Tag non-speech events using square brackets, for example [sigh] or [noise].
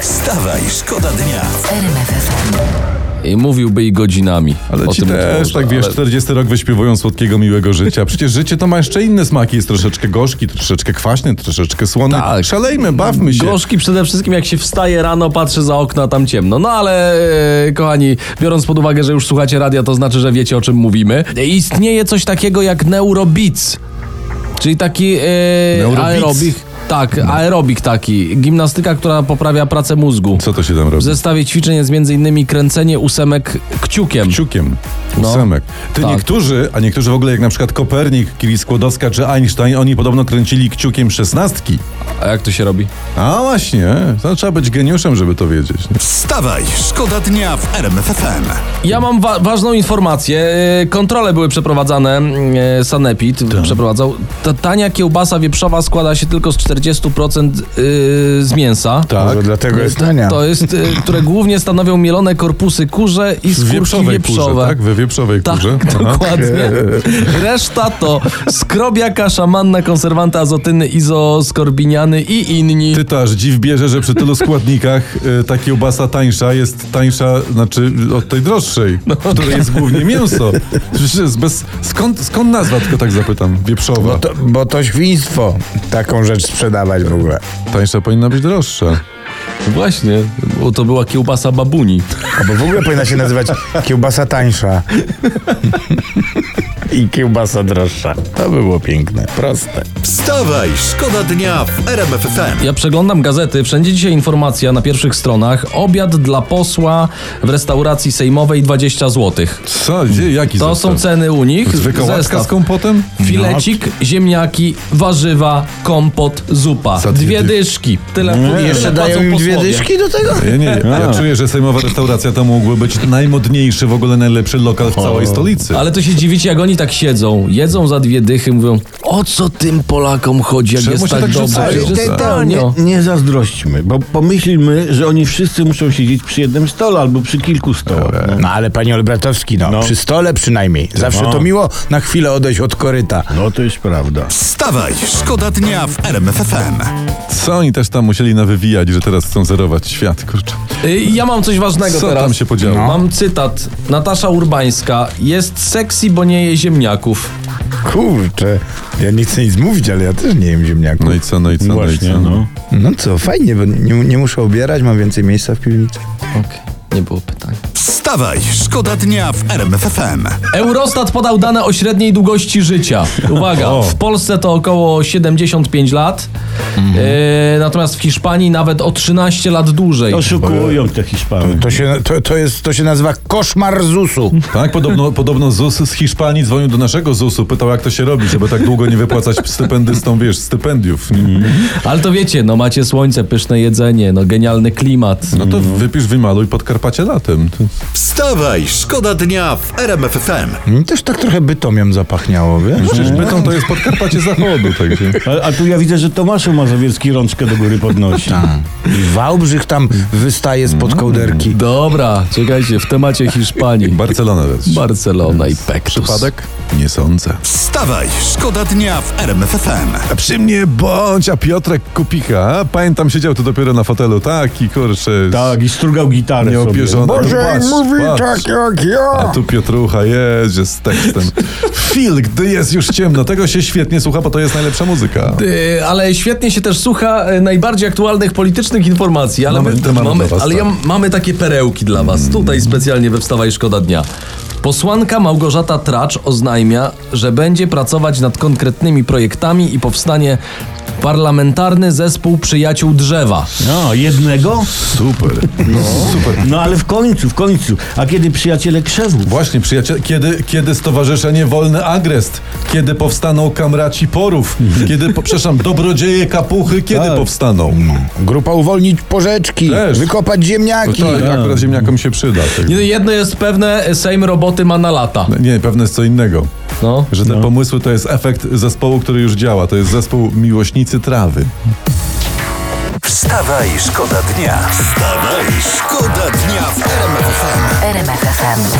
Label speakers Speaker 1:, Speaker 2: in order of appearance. Speaker 1: Wstawaj, szkoda dnia.
Speaker 2: I mówiłby i godzinami.
Speaker 3: Ale
Speaker 2: o
Speaker 3: ci
Speaker 2: tym
Speaker 3: też,
Speaker 2: utworze,
Speaker 3: tak wiesz,
Speaker 2: ale
Speaker 3: 40 rok wyśpiewują słodkiego, miłego życia. Przecież życie to ma jeszcze inne smaki. Jest troszeczkę gorzki, troszeczkę kwaśny, troszeczkę słony.
Speaker 2: Tak.
Speaker 3: Szalejmy, bawmy się.
Speaker 2: Gorzki przede wszystkim jak się wstaje rano, patrzy za okno, a tam ciemno. No ale e, kochani, biorąc pod uwagę, że już słuchacie radia, to znaczy, że wiecie o czym mówimy. E, Istnieje coś takiego jak neurobic. Czyli taki e,
Speaker 3: Neurobic?
Speaker 2: aerobik. Tak, aerobik taki. Gimnastyka, która poprawia pracę mózgu.
Speaker 3: Co to się tam
Speaker 2: W
Speaker 3: robi?
Speaker 2: zestawie ćwiczeń jest m.in. kręcenie ósemek kciukiem.
Speaker 3: Ciukiem.
Speaker 2: No.
Speaker 3: Ósemek. Ty
Speaker 2: Tak.
Speaker 3: niektórzy, a niektórzy w ogóle jak na przykład Kopernik, Kiri Skłodowska czy Einstein, oni podobno kręcili kciukiem szesnastki.
Speaker 2: A jak to się robi?
Speaker 3: A właśnie, to trzeba być geniuszem, żeby to wiedzieć.
Speaker 2: Tak.
Speaker 1: Wstawaj, szkoda dnia w RMFFM.
Speaker 2: Ja mam wa- ważną informację. E, Kontrole były przeprowadzane. e, Sanepid
Speaker 3: Tak.
Speaker 2: przeprowadzał. Ta tania kiełbasa wieprzowa składa się tylko z 40% y, z mięsa.
Speaker 3: Tak.
Speaker 4: Może dlatego jest tania.
Speaker 2: To jest, y, które głównie stanowią mielone korpusy kurze i
Speaker 3: W
Speaker 2: skórki
Speaker 3: wieprzowej
Speaker 2: wieprzowe.
Speaker 3: kurze, tak? We wieprzowej
Speaker 2: Tak, [laughs]
Speaker 3: kurze. Aha.
Speaker 2: dokładnie. Reszta to skrobiaka, szamanna, konserwanta azotyny, izoskorbiniany i inni.
Speaker 3: Ty też dziw bierze, że przy tylu składnikach y, ta kiełbasa tańsza jest tańsza, znaczy od tej droższej,
Speaker 2: No,
Speaker 3: w której
Speaker 2: tak.
Speaker 3: jest głównie mięso. Przecież jest bez, skąd, skąd nazwa, tylko tak zapytam, wieprzowa.
Speaker 2: No
Speaker 4: Bo to, bo to świństwo taką rzecz sprzedawać w ogóle.
Speaker 3: Tańsza powinna być droższa.
Speaker 2: Właśnie, bo to była kiełbasa babuni.
Speaker 4: Albo w ogóle powinna się nazywać kiełbasa tańsza. I kiełbasa droższa. To było piękne, proste.
Speaker 1: Wstawaj, szkoda dnia w RMFFM.
Speaker 2: Ja przeglądam gazety, wszędzie dzisiaj informacja na pierwszych stronach. Obiad dla posła w restauracji sejmowej 20 zł.
Speaker 3: Co, gdzie, jaki
Speaker 2: To
Speaker 3: zestaw?
Speaker 2: są ceny u nich.
Speaker 3: Wykołaczka z kompotem?
Speaker 2: Filecik, ziemniaki, warzywa, kompot, zupa.
Speaker 3: Za dwie
Speaker 2: Dwie
Speaker 3: dy-
Speaker 2: dyszki. Tyle mm.
Speaker 4: Jeszcze dają im dwie dyszki do tego?
Speaker 3: No, Ja nie, ja czuję, że sejmowa restauracja to mógłby być najmodniejszy, w ogóle najlepszy lokal w całej stolicy.
Speaker 2: Ale to się dziwicie, jak oni tak siedzą, jedzą za dwie dychy, mówią o co tym Polakom chodzi, jak
Speaker 3: Czemu
Speaker 2: jest
Speaker 3: się
Speaker 2: tak
Speaker 3: tak
Speaker 2: dobrze,
Speaker 3: rzucają?
Speaker 2: że
Speaker 3: Ale
Speaker 2: jest
Speaker 3: te-
Speaker 2: tanio.
Speaker 5: No, nie, nie zazdrośćmy, bo pomyślmy, że oni wszyscy muszą siedzieć przy jednym stole albo przy kilku stołach. No.
Speaker 4: No ale panie Olbratowski, no, przy stole przynajmniej. Zawsze to miło na chwilę odejść od koryta.
Speaker 5: no to jest prawda.
Speaker 1: Wstawaj, szkoda dnia w RMFFM.
Speaker 3: Co oni też tam musieli nawywijać, że teraz chcą zerować świat, kurczę.
Speaker 2: Y, Ja mam coś ważnego
Speaker 3: Co
Speaker 2: teraz.
Speaker 3: tam się podziało? No.
Speaker 2: Mam cytat. Natasza Urbańska. Jest sexy, bo nie je ziemniaków.
Speaker 4: Kurczę, ja nie chcę nic mówić, ale ja też nie jem ziemniaków.
Speaker 3: No i co, no i co, no i co.
Speaker 4: No co, fajnie, bo nie, nie muszę obierać, mam więcej miejsca w piwnicy.
Speaker 2: Nie było pytań.
Speaker 1: Wstawaj, szkoda dnia w RMFFM.
Speaker 2: Eurostat podał dane o średniej długości życia. Uwaga,
Speaker 3: O.
Speaker 2: w Polsce to około 75 lat,
Speaker 3: Mhm.
Speaker 2: e, natomiast w Hiszpanii nawet o 13 lat dłużej.
Speaker 5: Oszukują te Hiszpany.
Speaker 4: To się, to, to jest, to się nazywa koszmar ZUS-u.
Speaker 3: Tak, podobno, podobno ZUS z Hiszpanii dzwonił do naszego ZUS-u, pytał jak to się robi, żeby tak długo nie wypłacać stypendystom, wiesz, stypendiów.
Speaker 2: Ale to wiecie, no macie słońce, pyszne jedzenie, no genialny klimat.
Speaker 3: No to wypisz, wymaluj Podkarpacie latem. To-
Speaker 1: Wstawaj, szkoda dnia w RMFFM.
Speaker 4: Mi też tak trochę bytomiem zapachniało, wiesz?
Speaker 3: Przecież bytą to jest Podkarpacie Zachodu, także.
Speaker 5: A, a tu ja widzę, że Tomaszu Mazowiecki rączkę do góry podnosi.
Speaker 4: Tak. I Wałbrzych tam wystaje
Speaker 3: Mhm.
Speaker 4: spod kołderki.
Speaker 2: Dobra, czekajcie, w temacie Hiszpanii.
Speaker 3: Barcelona leci.
Speaker 2: Barcelona i Pektus.
Speaker 3: Przypadek? Nie sądzę.
Speaker 1: Wstawaj, szkoda dnia w RMFFM.
Speaker 3: A przy mnie bądź, a Piotrek Kupicha, pamiętam, siedział tu dopiero na fotelu, taki kurczę.
Speaker 5: Tak, i strugał gitarę
Speaker 3: Nieopierzony.
Speaker 5: sobie.
Speaker 3: Boże, mówi
Speaker 4: tak jak
Speaker 3: A
Speaker 4: ja!
Speaker 3: tu Piotrucha jedzie z [laughs] tekstem. Fil, gdy jest już ciemno, tego się świetnie słucha, bo to jest najlepsza muzyka.
Speaker 2: Y, ale świetnie się też słucha y, najbardziej aktualnych politycznych informacji, ale,
Speaker 3: Mamy
Speaker 2: my,
Speaker 3: temat
Speaker 2: mamy,
Speaker 3: dla was,
Speaker 2: ale ja,
Speaker 3: tak. Mm.
Speaker 2: mamy takie perełki dla was. Tutaj specjalnie we Wstawaj Szkoda Dnia. Posłanka Małgorzata Tracz oznajmia, że będzie pracować nad konkretnymi projektami i powstanie parlamentarny zespół przyjaciół drzewa.
Speaker 5: No, jednego?
Speaker 3: Super. Super.
Speaker 5: No ale w końcu, w końcu. A kiedy przyjaciele krzewu?
Speaker 3: Właśnie, przyjaciele, kiedy, kiedy Stowarzyszenie Wolny Agrest? Kiedy powstaną kamraci porów? Kiedy, po, przepraszam, dobrodzieje kapuchy? Kiedy
Speaker 2: Tak.
Speaker 3: powstaną?
Speaker 4: Grupa uwolnić porzeczki,
Speaker 3: Też.
Speaker 4: wykopać
Speaker 3: To
Speaker 4: ziemniaki.
Speaker 3: tak, akurat ziemniakom się przyda. tak. No
Speaker 2: Nie, no Jedno jest pewne, y, Sejm roboty ma na lata.
Speaker 3: Nie, pewne jest co innego.
Speaker 2: No.
Speaker 3: Że te pomysły to jest efekt zespołu, który już działa. To jest zespół Miłośnicy Trawy.
Speaker 1: Wstawaj, szkoda dnia. Wstawaj, szkoda dnia w RMFFM.
Speaker 6: RMFFM.